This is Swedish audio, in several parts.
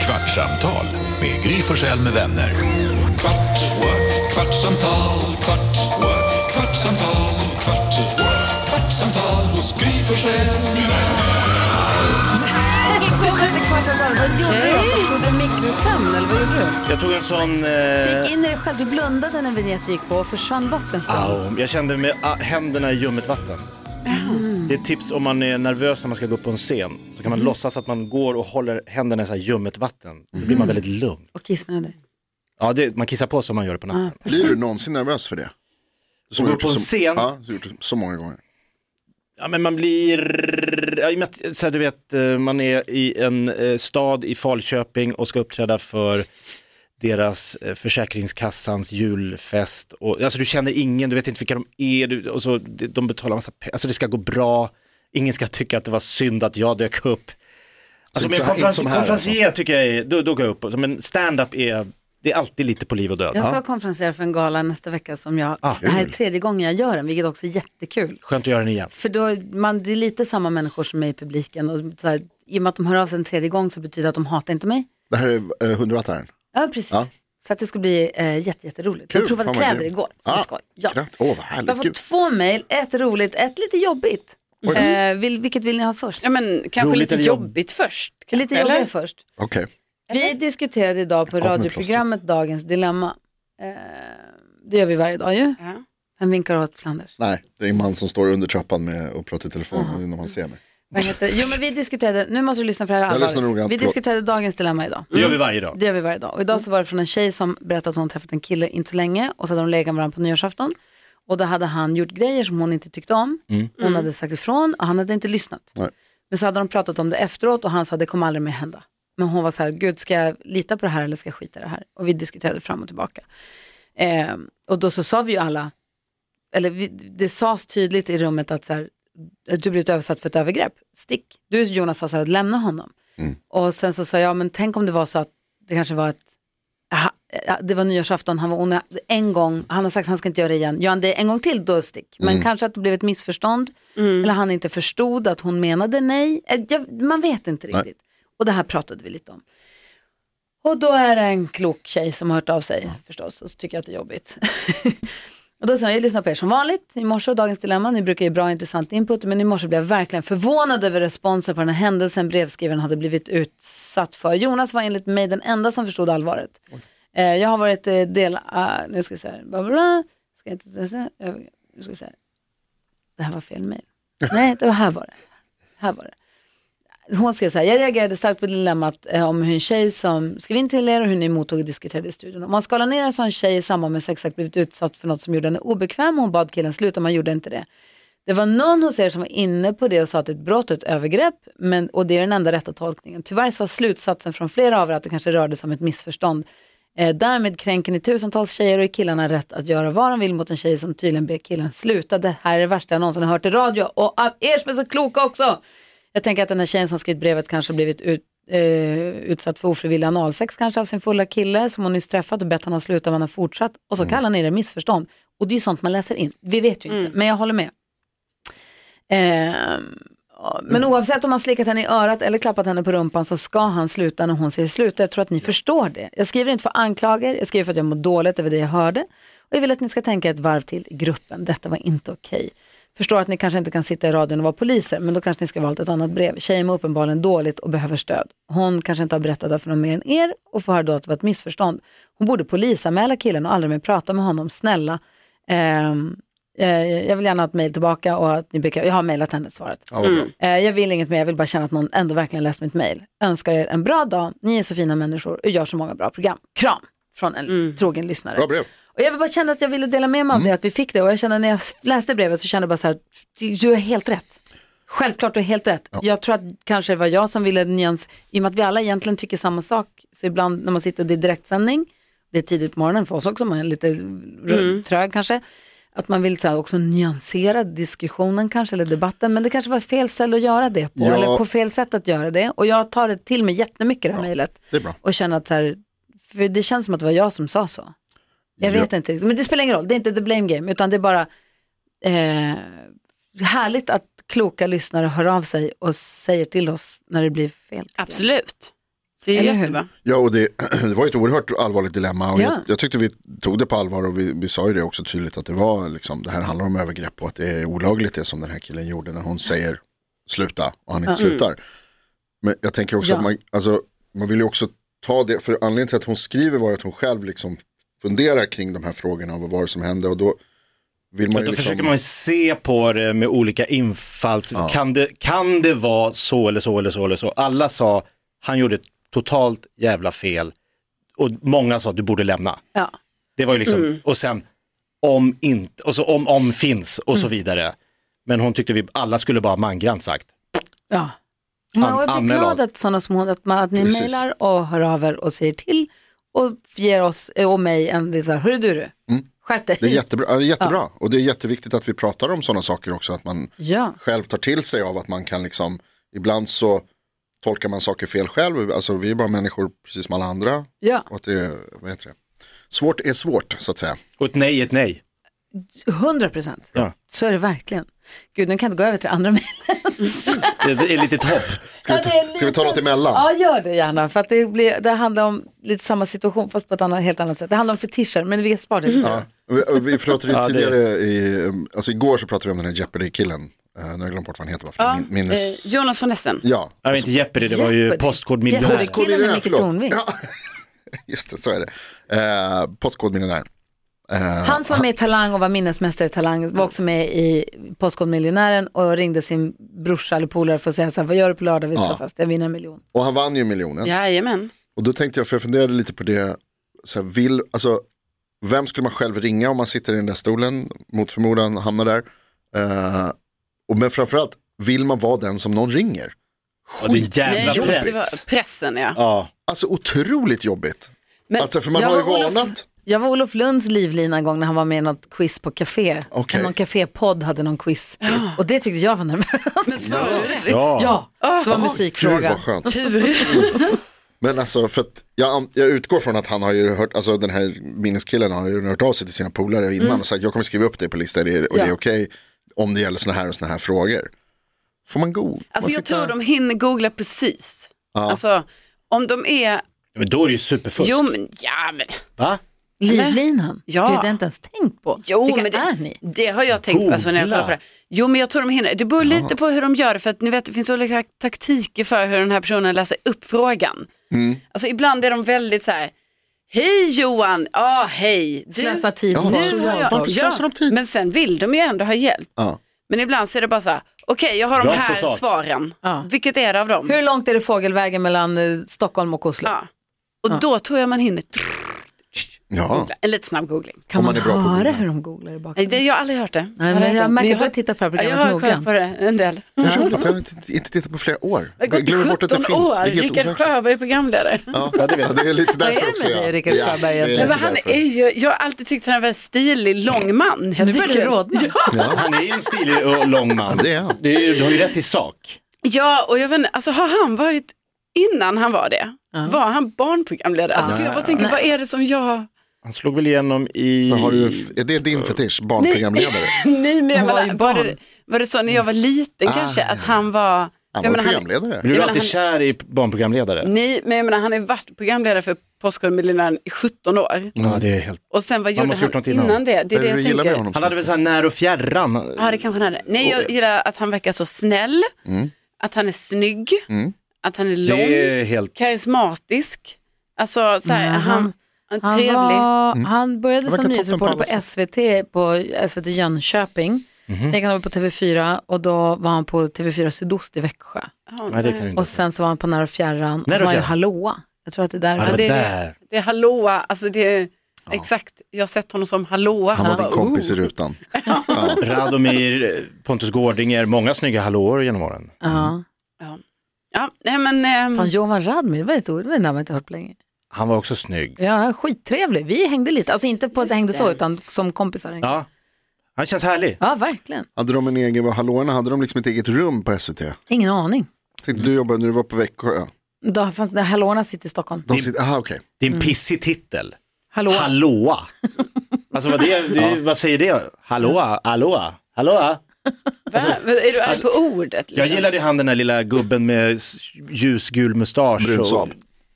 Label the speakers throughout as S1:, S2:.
S1: Kvartsamtal med Gry Forssell med vänner. Kvart, what? kvartsamtal, kvart, what? kvartsamtal, kvart, what? kvartsamtal hos Gry Forssell med vänner.
S2: Välkommen till Kvartsamtal. Vad gjorde du? Tog du en mikrosömn eller vad gjorde du?
S3: Jag tog en sån...
S2: Du
S3: Eh,
S2: gick in i dig själv, du blundade när vignetten gick på och försvann bort en stund.
S3: au, jag kände med ah, händerna i ljummet vatten. Det är ett tips om man är nervös när man ska gå upp på en scen. Så kan man låtsas att man går och håller händerna i så här ljummet vatten. Då blir man väldigt lugn.
S2: Och kissnödig.
S3: Ja, det, man kissar på sig om man gör det på natten.
S4: Blir du någonsin nervös för det? Som
S3: gå
S4: har gjort
S3: upp på en
S4: så-
S3: scen?
S4: Ja, som gjort det så många gånger.
S3: Ja, men man blir... Ja, i och med att, så här, du vet, eh, man är i en eh, stad i Falköping och ska uppträda för deras eh, Försäkringskassans julfest. Och, alltså du känner ingen, du vet inte vilka de är, du, och så, de de betalar massa pengar, alltså det ska gå bra, ingen ska tycka att det var synd att jag dök upp. Alltså,
S4: Så
S3: men
S4: inte så här- inte
S3: konferens,
S4: som här, alltså.
S3: konferencier tycker jag är, då, då går jag upp, men stand-up är, det är alltid lite på liv och död.
S2: Jag ska vara konferenser för en gala nästa vecka som jag,
S4: Ah,
S2: det här är tredje gången jag gör den, vilket också är jättekul.
S3: Skönt att göra den igen.
S2: För då, man, det är lite samma människor som är i publiken och så här, i och med att de hör av sig en tredje gång så betyder det att de hatar inte mig.
S4: Det här är eh, hundravattaren.
S2: Ja, precis.
S4: Ja.
S2: Så att det ska bli eh, jätte, jätteroligt.
S4: Kul,
S2: jag provade
S4: fan vad
S2: kläder
S4: grymt.
S2: igår.
S4: Ah,
S2: Ah, skoj. Ja.
S4: kratt. Åh, vad
S2: Jag har fått
S4: härligt.
S2: två mejl, ett roligt, ett lite jobbigt.
S4: Oj. Mm.
S2: Eh, vill, vilket vill ni ha först?
S5: Ja, men kanske
S3: Roligt
S5: lite
S3: eller jobb-
S5: jobbigt först.
S2: Lite
S5: kanske, eller?
S2: jobbigare först.
S4: Okej,
S2: Vi diskuterade idag på
S4: Ja, men
S2: radioprogrammet Dagens Dilemma. Eh, det gör vi varje dag ju.
S5: Ja.
S2: Vem vinkar åt Flanders?
S4: nej, det är en man som står under trappan med och pratar i telefon innan man ser mig.
S2: Vad heter det? Jo men vi diskuterade, nu måste du lyssna för det här är
S4: Jag lyssnar
S2: allvarligt.
S4: noggrant,
S2: Vi
S4: förlåt.
S2: diskuterade Dagens Dilemma idag.
S3: Det gör vi varje dag.
S2: Det gör vi varje dag. Och idag så var det från en tjej som berättade att hon träffat en kille inte så länge och så hade de legat med varandra på nyårsafton. Och då hade han gjort grejer som hon inte tyckte om.
S4: Mm.
S2: Hon hade sagt ifrån och han hade inte lyssnat.
S4: Nej.
S2: Men så hade de pratat om det efteråt och han sa det kommer aldrig mer hända. Men hon var så här, gud ska jag lita på det här eller ska jag skita i det här? Och vi diskuterade fram och tillbaka. Eh, och då så sa vi ju alla, eller vi, det sades tydligt i rummet att så här, du blivit översatt för ett övergrepp, stick. Du Jonas sa så här, lämna honom. Och sen så sa jag, men tänk om det var så att det kanske var ett, aha, eh, det var nyårsafton, han var onö- en gång, han har sagt att han ska inte göra det igen, gör han det en gång till då stick. Men kanske att det blev ett missförstånd, eller han inte förstod att hon menade nej. Eh, Jag, man vet inte riktigt. Och det här pratade vi lite om. Och då är det en klok tjej som har hört av sig förstås och så tycker jag att det är jobbigt. och då sa jag, jag lyssnar på er som vanligt i morse och Dagens Dilemma, ni brukar ge bra intressant input men i morse blev jag verkligen förvånad över responsen på den här händelsen brevskrivaren hade blivit utsatt för. Jonas var enligt mig den enda som förstod allvaret. Eh, jag har varit eh, del, ah, nu ska vi se här, bla, bla, bla. Ska jag inte säga, över- nu ska vi se här. Det här var fel mejl. Nej, det var här var det. Här var det hon skrev så här, jag reagerade starkt på dilemmat eh, om hur en tjej som skrev in till er och hur ni mottog och diskuterade i studion. Om man skalar ner en sån tjej i samband med sexakt blivit utsatt för något som gjorde henne obekväm och hon bad killen sluta, man gjorde inte det. Det var någon hos er som var inne på det och sa att det är ett brott och ett övergrepp men, och det är den enda rätta tolkningen. Tyvärr så var slutsatsen från flera av er att det kanske rörde sig om ett missförstånd. Eh, därmed kränker ni tusentals tjejer och är killarna rätt att göra vad de vill mot en tjej som tydligen ber killen sluta. Det här är det värsta jag någonsin har hört i radio och av er som är så kloka också. Jag tänker att den här tjejen som skrivit brevet kanske blivit ut, eh, utsatt för ofrivillig analsex kanske av sin fulla kille som hon nyss träffat och bett honom sluta men han har fortsatt. Och så kallar ni det missförstånd. Och det är ju sånt man läser in. Vi vet ju inte, men jag håller med. Ehm, ja, men oavsett om han slickat henne i örat eller klappat henne på rumpan så ska han sluta när hon säger sluta. Jag tror att ni förstår det. Jag skriver inte för anklager, jag skriver för att jag mår dåligt över det jag hörde. Och jag vill att ni ska tänka ett varv till i gruppen. Detta var inte okej. Förstår att ni kanske inte kan sitta i radion och vara poliser, men då kanske ni ska valt ett annat brev. Tjejen mår uppenbarligen dåligt och behöver stöd. Hon kanske inte har berättat det för någon mer än er och får höra då att det var ett missförstånd. Hon borde polisanmäla killen och aldrig mer prata med honom. Snälla, ehm, eh, jag vill gärna ha ett mejl tillbaka och att ni bekräftar. Jag har mejlat henne svaret.
S4: Ja, vad bra.
S2: Eh, jag vill inget mer, jag vill bara känna att någon ändå verkligen läst mitt mejl. Önskar er en bra dag, ni är så fina människor och gör så många bra program. Kram från en trogen lyssnare.
S4: bra brev.
S2: Och jag vill bara kände att jag ville dela med mig av det, att vi fick det. Och jag kände när jag läste brevet så kände jag bara så här, du du har helt rätt. Självklart du har helt rätt. Jag tror att kanske det var jag som ville nyans, i och med att vi alla egentligen tycker samma sak. Så ibland när man sitter och det är direktsändning, det är tidigt på morgonen för oss också, man är lite mm. trög kanske. Att man vill så här, också nyansera diskussionen kanske, eller debatten. Men det kanske var fel ställe att göra det på,
S4: Ja.
S2: eller på fel sätt att göra det. Och jag tar det till mig jättemycket det här mejlet.
S4: Det är bra.
S2: Och känner att så här, för det känns som att det var jag som sa så. Jag vet inte riktigt, men det spelar ingen roll. Det är inte the blame game, utan det är bara eh, härligt att kloka lyssnare hör av sig och säger till oss när det blir fel.
S5: Absolut.
S2: Det är
S5: Eller hur?
S2: jättebra.
S4: Ja, och det, det var ju ett oerhört allvarligt dilemma och
S2: Ja.
S4: jag, jag tyckte vi tog det på allvar och vi, vi sa ju det också tydligt att det var liksom, det här handlar om övergrepp och att det är olagligt det som den här killen gjorde när hon säger sluta och han inte slutar. Men jag tänker också
S2: Ja.
S4: att man, alltså, man vill ju också ta det, för anledningen till att hon skriver var ju att hon själv liksom funderar kring de här frågorna och vad var det som hände och då vill man
S3: Då
S4: ju liksom,
S3: försöker man ju se på det med olika infalls... Kan, det, kan det vara så eller så eller så eller så? Alla sa, han gjorde ett totalt jävla fel. Och många sa, du borde lämna.
S2: Ja. Mm.
S3: Det var ju liksom, och sen om inte, och så om, om finns och
S2: Mm.
S3: så vidare. Men hon tyckte vi alla skulle bara mangrant sagt.
S2: Ja. Man
S3: An-
S2: jag blir
S3: anmäl
S2: glad
S3: av.
S2: att sådana små, att, man, att ni
S4: Precis.
S2: mejlar och hör av er och säger till och ger oss eh, och mig en, det är så här, hörru du, skärp dig.
S4: det är jättebra, ja, det är jättebra. och det är jätteviktigt att vi pratar om sådana saker också, att man
S2: ja.
S4: själv tar till sig av att man kan liksom, ibland så tolkar man saker fel själv, alltså vi är bara människor precis som alla andra.
S2: ja,
S4: Och att det, är- vad heter det? Svårt är svårt så att säga.
S3: Och ett nej är ett nej.
S2: hundra procent.
S3: Ja.
S2: Så är det verkligen. Gud, nu kan jag inte gå över till andra mejl.
S3: Det är ett litet hopp.
S4: Ska
S2: Ja,
S4: vi,
S2: det är
S4: ta- ska vi ta något emellan?
S2: Ja, gör det gärna. För att det, blir, det handlar om lite samma situation fast på ett annat, helt annat sätt. Det handlar om fetischer, men vi sparar det.
S4: Ja. Vi, vi pratade ju
S3: Ja, det-
S4: tidigare, i, alltså igår så pratade vi om den här Jeopardy-killen. Eh, nu har jag glömt bort vad han heter, varför
S5: Ja,
S4: min, minnes...
S5: eh, Jonas von Essen.
S4: ja,
S3: Jag vet inte, Jeopardy, det var ju
S2: Jeopardy.
S3: postkodmiljonär.
S2: Jeopardy. killen med
S4: Postkodmiljonär,
S2: Micke Tornving.
S4: förlåt. Ja. Just det, så är det. Eh, Postkodmiljonär. Eh,
S2: Han som var med i Talang och var minnesmästare i Talang var också med i Postkodmiljonären och ringde sin brorsa eller polare för att säga så här, vad gör du på lördag? Vi ska
S4: Ja.
S2: fast, jag vinner en miljon.
S4: Och han vann ju miljonen.
S5: Jajamän.
S4: Och då tänkte jag, för jag funderade lite på det, så här, vill, alltså, vem skulle man själv ringa om man sitter i den där stolen, mot förmodan hamnar där. Eh, och men framförallt, vill man vara den som någon ringer?
S3: Och det är
S5: Nej,
S3: jävla
S5: jo,
S3: press.
S5: det var pressen ja.
S3: Ja.
S4: Alltså otroligt jobbigt.
S5: Men
S4: Alltså, för man
S2: jag
S4: har ju
S2: var Olof-
S4: varnat.
S2: Jag var Olof Lunds livlina en gång när han var med i något quiz på café.
S4: Okej.
S2: Någon cafépodd hade någon quiz. Och det tyckte jag var nervöst. Men
S5: svarade du rätt?
S3: Ja.
S2: ja, det var en
S4: Gud
S2: musikfråga.
S4: vad skönt.
S5: Tur. Alltså,
S4: Men alltså, för att jag, an- jag utgår från att han har ju hört, alltså den här minneskillen har ju hört av sig till sina polare innan och sagt jag kommer skriva upp dig på listan är det- och det är
S2: Ja.
S4: okej om det gäller sådana här och sådana här frågor. Får man go? Får
S5: Alltså
S4: man
S5: jag
S4: sitta-
S5: tror de hinner googla precis.
S4: Ja.
S5: Alltså om de är,
S3: Men då är det ju superfusk.
S5: jo men, ja men,
S3: Va?
S2: Livlinan,
S5: Ja.
S2: det är det jag inte ens tänkt på.
S5: jo,
S2: Vilka
S5: men det,
S2: är ni?
S5: Det har jag tänkt på alltså, när jag
S3: Googla.
S5: kollar på det. Jo men jag tror de hinner, det beror lite på hur de gör för att ni vet det finns olika taktiker för hur den här personen läser upp frågan.
S4: Mm.
S5: Alltså ibland är de väldigt så här, hej Johan, ja hej. Du,
S2: Slösa tid.
S4: Ja,
S2: Nu
S4: så
S2: har
S4: jävla-
S2: typ- jag-
S4: varför slösar de tid?
S5: Men sen vill de ju ändå ha hjälp.
S4: Ja.
S5: Men ibland så är det bara så här, okej jag har de
S3: Rakt på
S5: här
S3: sak.
S5: svaren,
S2: Ja.
S5: vilket är det av dem?
S2: Hur långt är det fågelvägen mellan eh, Stockholm och Oslo?
S5: Ja. Och då tror jag man hinner
S4: Ja.
S5: googla, en lite snabb googling.
S2: Kan
S4: Om
S2: man,
S4: man är bra på
S2: höra
S4: att googla.
S2: hur de googlar i bakgrunden?
S5: Nej, det, jag har aldrig hört det.
S2: Nej, men jag märker att du har tittat på det här
S5: Ja,
S2: programmet
S5: Jag har kollat
S2: noggrant.
S5: på det en del.
S4: Det är roligt, jag har inte, inte tittat på flera år.
S5: Det har
S4: Jag glömmer bort att
S5: gått
S4: det
S5: 17
S4: finns.
S5: år,
S4: det är helt
S5: Rickard
S4: overkligt.
S5: Sjöberg är programledare.
S4: Ja, det är lite
S2: Vad är
S4: därför
S2: det
S4: också.
S2: med
S4: ja.
S2: dig, Rickard
S4: Ja,
S2: Sjöberg,
S4: det är
S2: egentligen?
S5: Nej,
S4: lite
S5: men han
S4: därför.
S5: är ju, jag har alltid tyckt han var en stilig, lång man. helt
S2: Nu börjar det
S5: enkelt.
S2: rodna.
S5: Ja,
S4: Ja.
S3: Han är ju en stilig och lång man.
S4: Ja, det är han.
S3: Det är ju, du har ju rätt i sak.
S5: ja, och jag vet inte, alltså har han varit, innan han var det, var han barnprogramledare? Alltså, för jag bara tänker, vad är det som jag...
S3: Han slog väl igenom i...
S4: Men har du,
S5: Mm.
S4: är det din fetisch, barnprogramledare?
S5: Nej, men jag
S2: Han var
S5: menar,
S2: ju
S5: var,
S2: barn.
S5: det, var det så när jag var liten kanske, att han var...
S4: Ah. Han
S5: jag
S4: var
S5: menar,
S4: programledare.
S3: Blir du
S5: Jag menar,
S3: alltid
S5: han- Mm.
S3: kär i barnprogramledare?
S5: Nej, men jag menar, han har ju varit programledare för Postkodmiljonären i 17 år.
S3: Ja, det är helt...
S5: Och sen vad gjorde
S3: måste
S5: han
S3: gjort något innan.
S5: innan. det? Det är det
S4: du
S5: jag
S4: gillar med
S5: tänker.
S4: honom?
S3: Han hade väl så här när och fjärran.
S5: Ja, det kanske han hade. Nej, jag gillar att han verkar så snäll, att han är snygg, att han är lång,
S3: Mm. Det är helt...
S5: karismatisk. Alltså, så här,
S2: Nej, Mm, han-
S5: han, han, är
S2: Han,
S5: trevlig.
S2: var, han började
S4: Mm. Han
S2: som
S4: verkar toppen på
S2: nyhetsreporter
S4: alla
S2: på SVT, på SVT Jönköping.
S4: Mhm.
S2: Sen gick han över på TV4 och då var han på TV4 Sydost i Växjö.
S5: Ja,
S3: Nej, det kan du inte.
S2: Och sen så var han på Nära och fjärran och
S3: Nära
S2: så var han
S3: och
S2: ju
S3: fjärran.
S2: Hallåa. Jag tror att det är där.
S3: Ja, det var
S5: det-
S3: där.
S5: det är hallåa, alltså det är exakt, jag har sett honom som hallåa.
S4: Han var
S5: bara,
S4: din kompis i
S5: "Oh."
S4: rutan.
S3: Radomir, Pontus Gårdinger, många snygga hallåor genom åren.
S2: Ja.
S5: Ja. Ja, nej men, ehm,
S2: Fan, Jovan Radmir, det var ett ord, det var ett namn jag inte hört på länge.
S3: Han var också snygg.
S2: Ja, han är skittrevlig. Vi hängde lite, alltså inte på att det hängde så,
S5: det.
S2: utan som kompisar. Ja,
S3: Ja, han känns härlig.
S2: ja verkligen.
S4: Hade de en egen, vad hallåorna, hade de liksom ett eget rum på SVT?
S2: Ingen aning.
S4: Tänkte du jobbade när du var på Växjö?
S2: Då fanns det Hallåorna sitter i Stockholm.
S4: De sitter, aha, okej.
S3: Det är en pissig titel.
S2: Hallå.
S3: Hallåa. Alltså vad, det, det, vad säger det? Hallåa, hallåa, hallåa.
S5: va?
S2: Alltså,
S5: är du arg på ordet?
S3: Jag gillade han den där lilla gubben med s- ljusgul mustasch.
S4: Brun
S3: och-
S4: Saab.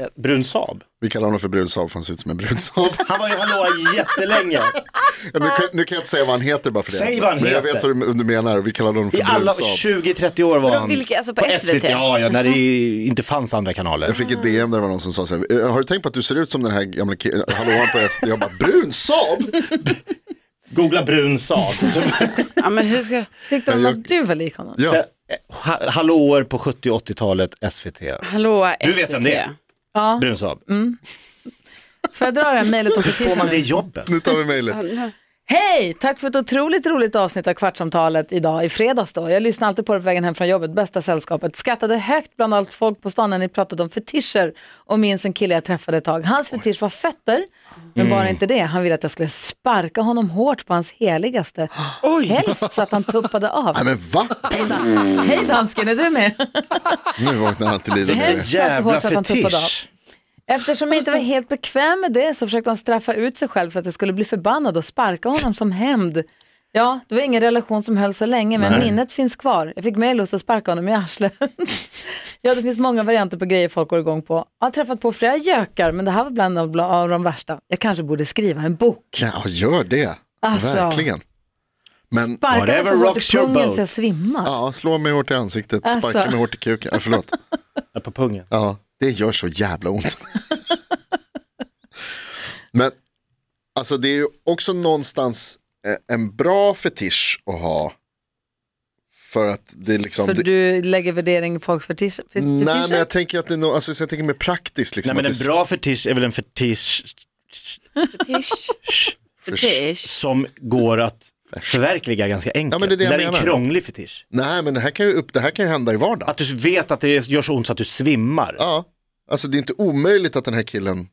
S3: eh, brun Saab.
S4: Vi kallar honom för Brudsaab för han ser ut som en brudsaab.
S3: Han var ju hallå jättelänge.
S4: nu, kan, nu kan jag inte säga vad han heter bara för det.
S3: Säg vad han
S4: Men jag
S3: heter.
S4: vet vad du, du menar, vi kallar honom för
S3: I alla
S4: Brudsaab.
S3: 20-30 år var
S5: Vadå,
S3: han.
S5: vilka? Alltså på SVT?
S3: Ja, ja, när det inte fanns andra kanaler.
S4: Jag fick
S2: Mm.
S4: ett DM där det var någon som sa så här, "Eh, har du tänkt på att du ser ut som den här gamla killen, hallå han på SD, jag bara brun Saab?
S3: Googla brun Saab.
S5: Ja, men hur ska...
S2: Tyckte de
S4: jag-
S2: att du var lik honom?
S4: Ja,
S3: Eh, Ha- Hallåor på 70 och 80-talet, SVT.
S5: Hallå SVT.
S3: Du vet vem det är.
S2: Ja.
S3: Brun Saab.
S2: Får jag dra det här mejlet också till
S3: Får man
S2: henne?
S3: det jobbet?
S4: nu tar vi mejlet.
S2: Hej! Tack för ett otroligt roligt avsnitt av Kvartsamtalet idag i fredags då. Jag lyssnar alltid på det på vägen hem från jobbet, bästa sällskapet. Skrattade högt bland allt folk på stan när ni pratade om fetischer och minns en kille jag träffade ett tag. Hans fetisch var fötter, men bara inte det. Han ville att jag skulle sparka honom hårt på hans heligaste. Helst så att han tuppade av.
S4: Nej men va?
S2: Hej dansken, är du med?
S4: Nu vaknar han till livet.
S2: Hej.
S4: direkt.
S3: Jävla
S2: Satt hårt att han tuppade av.
S3: fetisch.
S2: Eftersom jag inte var helt bekväm med det så försökte han straffa ut sig själv så att jag skulle bli förbannad och sparka honom som hämnd. Ja, det var ingen relation som höll så länge men minnet finns kvar. Jag fick mer lust att sparka honom i arslet. ja, det finns många varianter på grejer folk går igång på. Jag har träffat på flera gökar men det här var bland de, bland av de värsta. Jag kanske borde skriva en bok.
S4: Ja, gör det.
S2: Alltså.
S4: Verkligen. Men
S2: Sparka mig
S3: Whatever
S2: så hårt i
S3: rocks your
S2: pungen
S3: boat.
S2: så jag svimmar.
S4: ja, slå mig hårt i ansiktet, sparka
S2: Alltså.
S4: mig hårt i kuken. Ja, förlåt.
S3: Ja, På pungen.
S4: Ja, det gör så jävla ont. Men alltså det är ju också någonstans eh, en bra fetisch att ha. För att det är liksom...
S2: För
S4: det,
S2: du lägger värdering i folks fetis- fet- fetischer?
S4: Mm. nej men jag tänker att det är nog, alltså så jag tänker mer praktiskt
S3: Nej
S4: liksom.
S3: men
S4: att
S3: en
S4: det är
S3: bra fetisch är väl en fetisch
S5: Fetisch. Fetisch.
S3: som går att förverkliga ganska enkelt.
S4: Ja, men det är det jag
S3: där är en
S4: menar.
S3: krånglig fetisch.
S4: Nej men det här kan ju, upp, det här kan ju hända i vardagen.
S3: Att du vet att det gör så ont så att du svimmar.
S4: Ja, alltså det är inte omöjligt att den här killen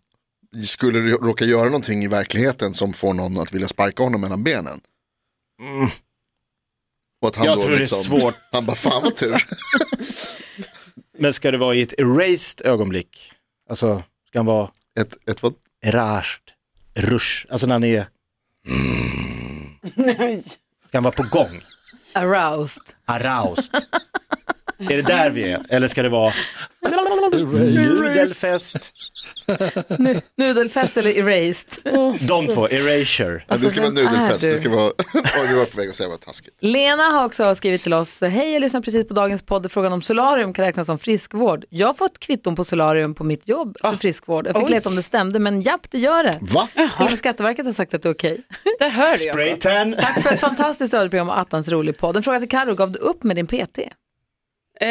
S4: skulle rå- råka göra någonting i verkligheten som får någon att vilja sparka honom mellan benen. Och att han
S3: Mm. Jag
S4: då
S3: tror det är
S4: liksom,
S3: svårt.
S4: Han bara, fan vad tur.
S3: Men ska det vara i ett erased ögonblick? Alltså, ska han vara
S4: Ett, ett vad?
S3: erased, rush, alltså när han är, ska han vara på gång,
S2: Aroused.
S3: aroused? är det där vi är? Eller ska det vara nudelfest?
S2: Nu- Nudelfest eller erased?
S3: De två, erasure.
S4: Ja, det
S2: Alltså,
S4: ska vara
S2: vem är
S4: nudelfest, det
S2: du?
S4: ska vara, Oj, jag var på väg att säga vad taskigt.
S2: Lena har också skrivit till oss, hej jag lyssnar precis på dagens podd, frågan om solarium kan räknas som friskvård. Jag har fått kvitton på solarium på mitt jobb för friskvård. Jag fick leta om det stämde, men japp det gör det.
S4: Va?
S2: Inom Skatteverket har sagt att det är okej.
S5: Det hör du ju.
S3: Spraytan.
S2: Tack för ett fantastiskt radioprogram och attans rolig podd. En fråga till Carro, gav du upp med din PT?
S5: Eh,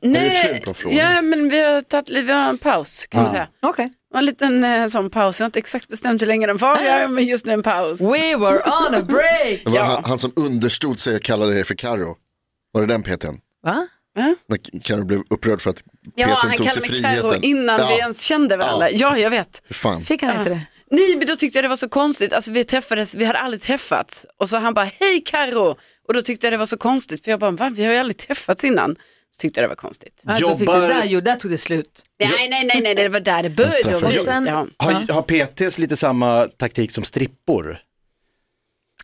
S5: nej,
S4: slut på frågan?
S5: ja, men vi har, tagit, li- vi har en paus kan man säga.
S2: Okej.
S5: Det var en liten eh, sån paus, jag har inte exakt bestämt hur länge den var, jag har- men just nu en paus.
S2: We were on a break!
S4: Det var
S5: Ja.
S4: han, han som understod sig och kallade dig för Karo. Var det den PTn?
S2: Va?
S4: När Karo blev upprörd för att PTn
S5: Ja, han
S4: tog sig
S5: kallade mig Carro
S4: friheten.
S5: innan
S4: ja,
S5: vi ens kände varandra. Ja, jag vet.
S4: Fan.
S2: Fick han inte det?
S5: Nej, men då tyckte jag det var så konstigt. Alltså, vi träffades, vi hade aldrig träffats. Och så han bara, hej Karo. Och då tyckte jag det var så konstigt, för jag bara, va? Vi har ju aldrig träffats innan. Så tyckte jag det var konstigt.
S2: Ja, då fick det
S3: Jobbar-
S2: där, jo, där tog det slut.
S5: Nej, nej, nej, nej, det var där det började.
S4: Nästa
S5: Och
S4: fråga.
S5: sen, ja.
S3: Har, har PTs lite samma taktik som strippor?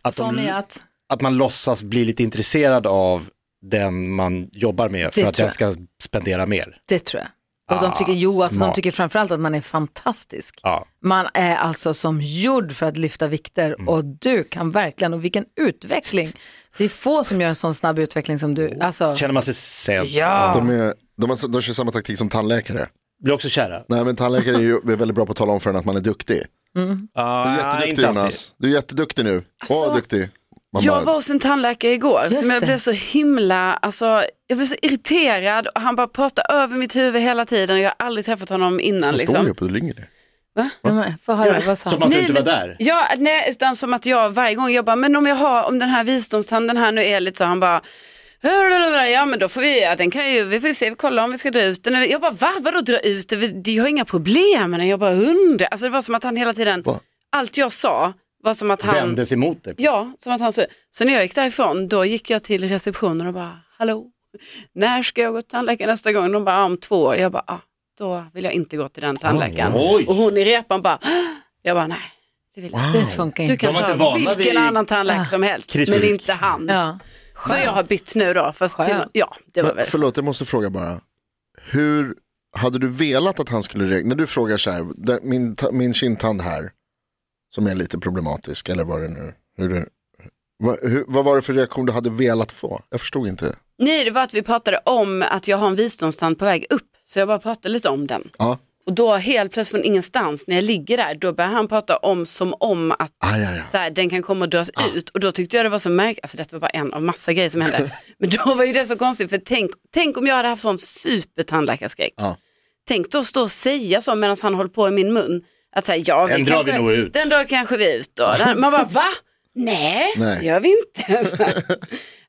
S3: Att,
S2: Som
S3: de,
S2: är att,
S3: att man låtsas bli lite intresserad av den man jobbar med för
S2: Det
S3: att
S2: tror
S3: den ska spendera mer.
S2: det tror jag. Och de tycker, jo, alltså, de
S3: Ah, smart. Ah.
S2: tycker framförallt att man är fantastisk.
S3: Ja.
S2: Man är alltså som gjord för att lyfta vikter
S3: Mm.
S2: och du kan verkligen, och vilken utveckling. Det är få som gör en sån snabb utveckling som du. Alltså,
S3: Känner man sig sedd?
S2: ja.
S4: De, är, de, har, de kör samma taktik som tandläkare.
S3: Blir också kära?
S4: Nej men tandläkare är ju är väldigt bra på att tala om för en att man är duktig. Du är
S3: Ah,
S4: jätteduktig
S3: inte alltid.
S4: Jonas. Du är jätteduktig nu. Åh,
S5: Alltså,
S4: duktig. Man
S5: Jag
S4: bara,
S5: var hos en tandläkare igår
S2: Just
S5: som jag
S2: det.
S5: blev så himla, alltså, jag blev så irriterad och han bara pratade över mitt huvud hela tiden och jag har aldrig träffat honom innan.
S4: han
S5: Liksom.
S4: står ju upp och lynger ner.
S2: Ja, men, Få höra, vad sa
S3: Som
S2: han?
S3: att du
S5: Nej,
S3: inte var
S5: men-
S3: där?
S5: Ja, nej, utan som att jag varje gång, jag bara, men om jag har, om den här visdomstanden här nu är lite så, han bara, "Hurrururur, ja men då får vi, ja, den kan ju, vi får ju se, vi kollar om vi ska dra ut den. Eller, jag bara, va, vadå dra ut den? Vi- Det har inga problem. Men jag bara, undrar. Alltså det var som att han hela tiden,
S4: Va?
S5: allt jag sa var som att han,
S3: Vändes emot dig?
S5: ja, som att han så, så när jag gick därifrån, då gick jag till receptionen och bara, hallå, när ska jag gå till tandläkaren nästa gång? De bara, "Ja, om två år. Jag bara, ah, då vill jag inte gå till den tandläkaren. Och
S3: Oj!
S5: hon i repan bara, "Ah." jag bara nej, det vill jag inte.
S2: Det funkar
S5: Du
S2: inte.
S5: kan
S3: De var inte
S5: ta
S3: vana
S5: vilken
S3: vid
S5: annan tandläkare
S2: Ah.
S5: som helst,
S3: Kritik.
S5: men inte han.
S2: Ja.
S5: Så jag har bytt nu då, fast till,
S2: Skönt.
S5: ja, det var
S4: Men,
S5: väl.
S4: förlåt, jag måste fråga bara. Hur hade du velat att han skulle reagera, när du frågar så här, "Den- min, ta- min kindtand här, som är lite problematisk, eller vad det nu, hur det, vad, hur, vad var det för reaktion du hade velat få? Jag förstod inte.
S5: Nej, det var att vi pratade om att jag har en visdomstand på väg upp. Så jag bara pratade lite om den.
S4: Ja,
S5: Och då helt plötsligt från ingenstans när jag ligger där, då börjar han prata om som om att
S4: aj, aj, aj.
S5: så här, den kan komma och dras ut. Och då tyckte jag det var så märkligt, alltså detta var bara en av massa grejer som hände. Men då var ju det så konstigt, för tänk, tänk om jag hade haft sån supertandläkarskräck.
S4: Ja.
S5: Tänk då stå och säga så medan han håller på i min mun. Att säga, ja, vi
S3: Den drar vi
S5: kanske-
S3: nog ut.
S5: Den drar kanske vi ut då. Den- Man bara, va? Nej,
S4: Nej.
S5: det gör vi inte. Så här.